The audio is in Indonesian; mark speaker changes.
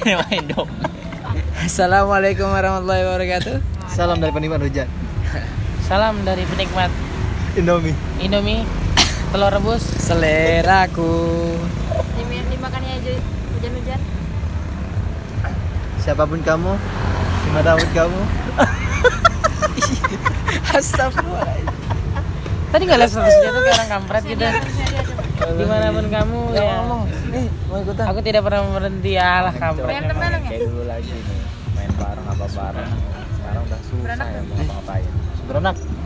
Speaker 1: Main dong.
Speaker 2: Assalamualaikum warahmatullahi wabarakatuh.
Speaker 3: Salam dari penikmat hujan.
Speaker 4: Salam dari penikmat
Speaker 3: Indomie.
Speaker 4: Indomie, telur rebus,
Speaker 2: Seleraku.
Speaker 5: Dimi- dimakannya aja hujan-hujan
Speaker 3: Siapapun kamu, dimanapun kamu.
Speaker 2: Astagfirullah.
Speaker 4: Tadi nggak lihat statusnya tuh kayak orang kampret gitu.
Speaker 5: Seri aja, Pak.
Speaker 4: Dimanapun kamu
Speaker 2: Ya
Speaker 4: ya.
Speaker 2: ngomong. Nih, mau ikutan.
Speaker 4: Aku tidak pernah berhenti alah kampret.
Speaker 5: Berantem bareng ya?
Speaker 1: Kayak dulu lagi nih, main bareng apa bareng. Sekarang udah susah ya mau ngapain.
Speaker 3: Beranak.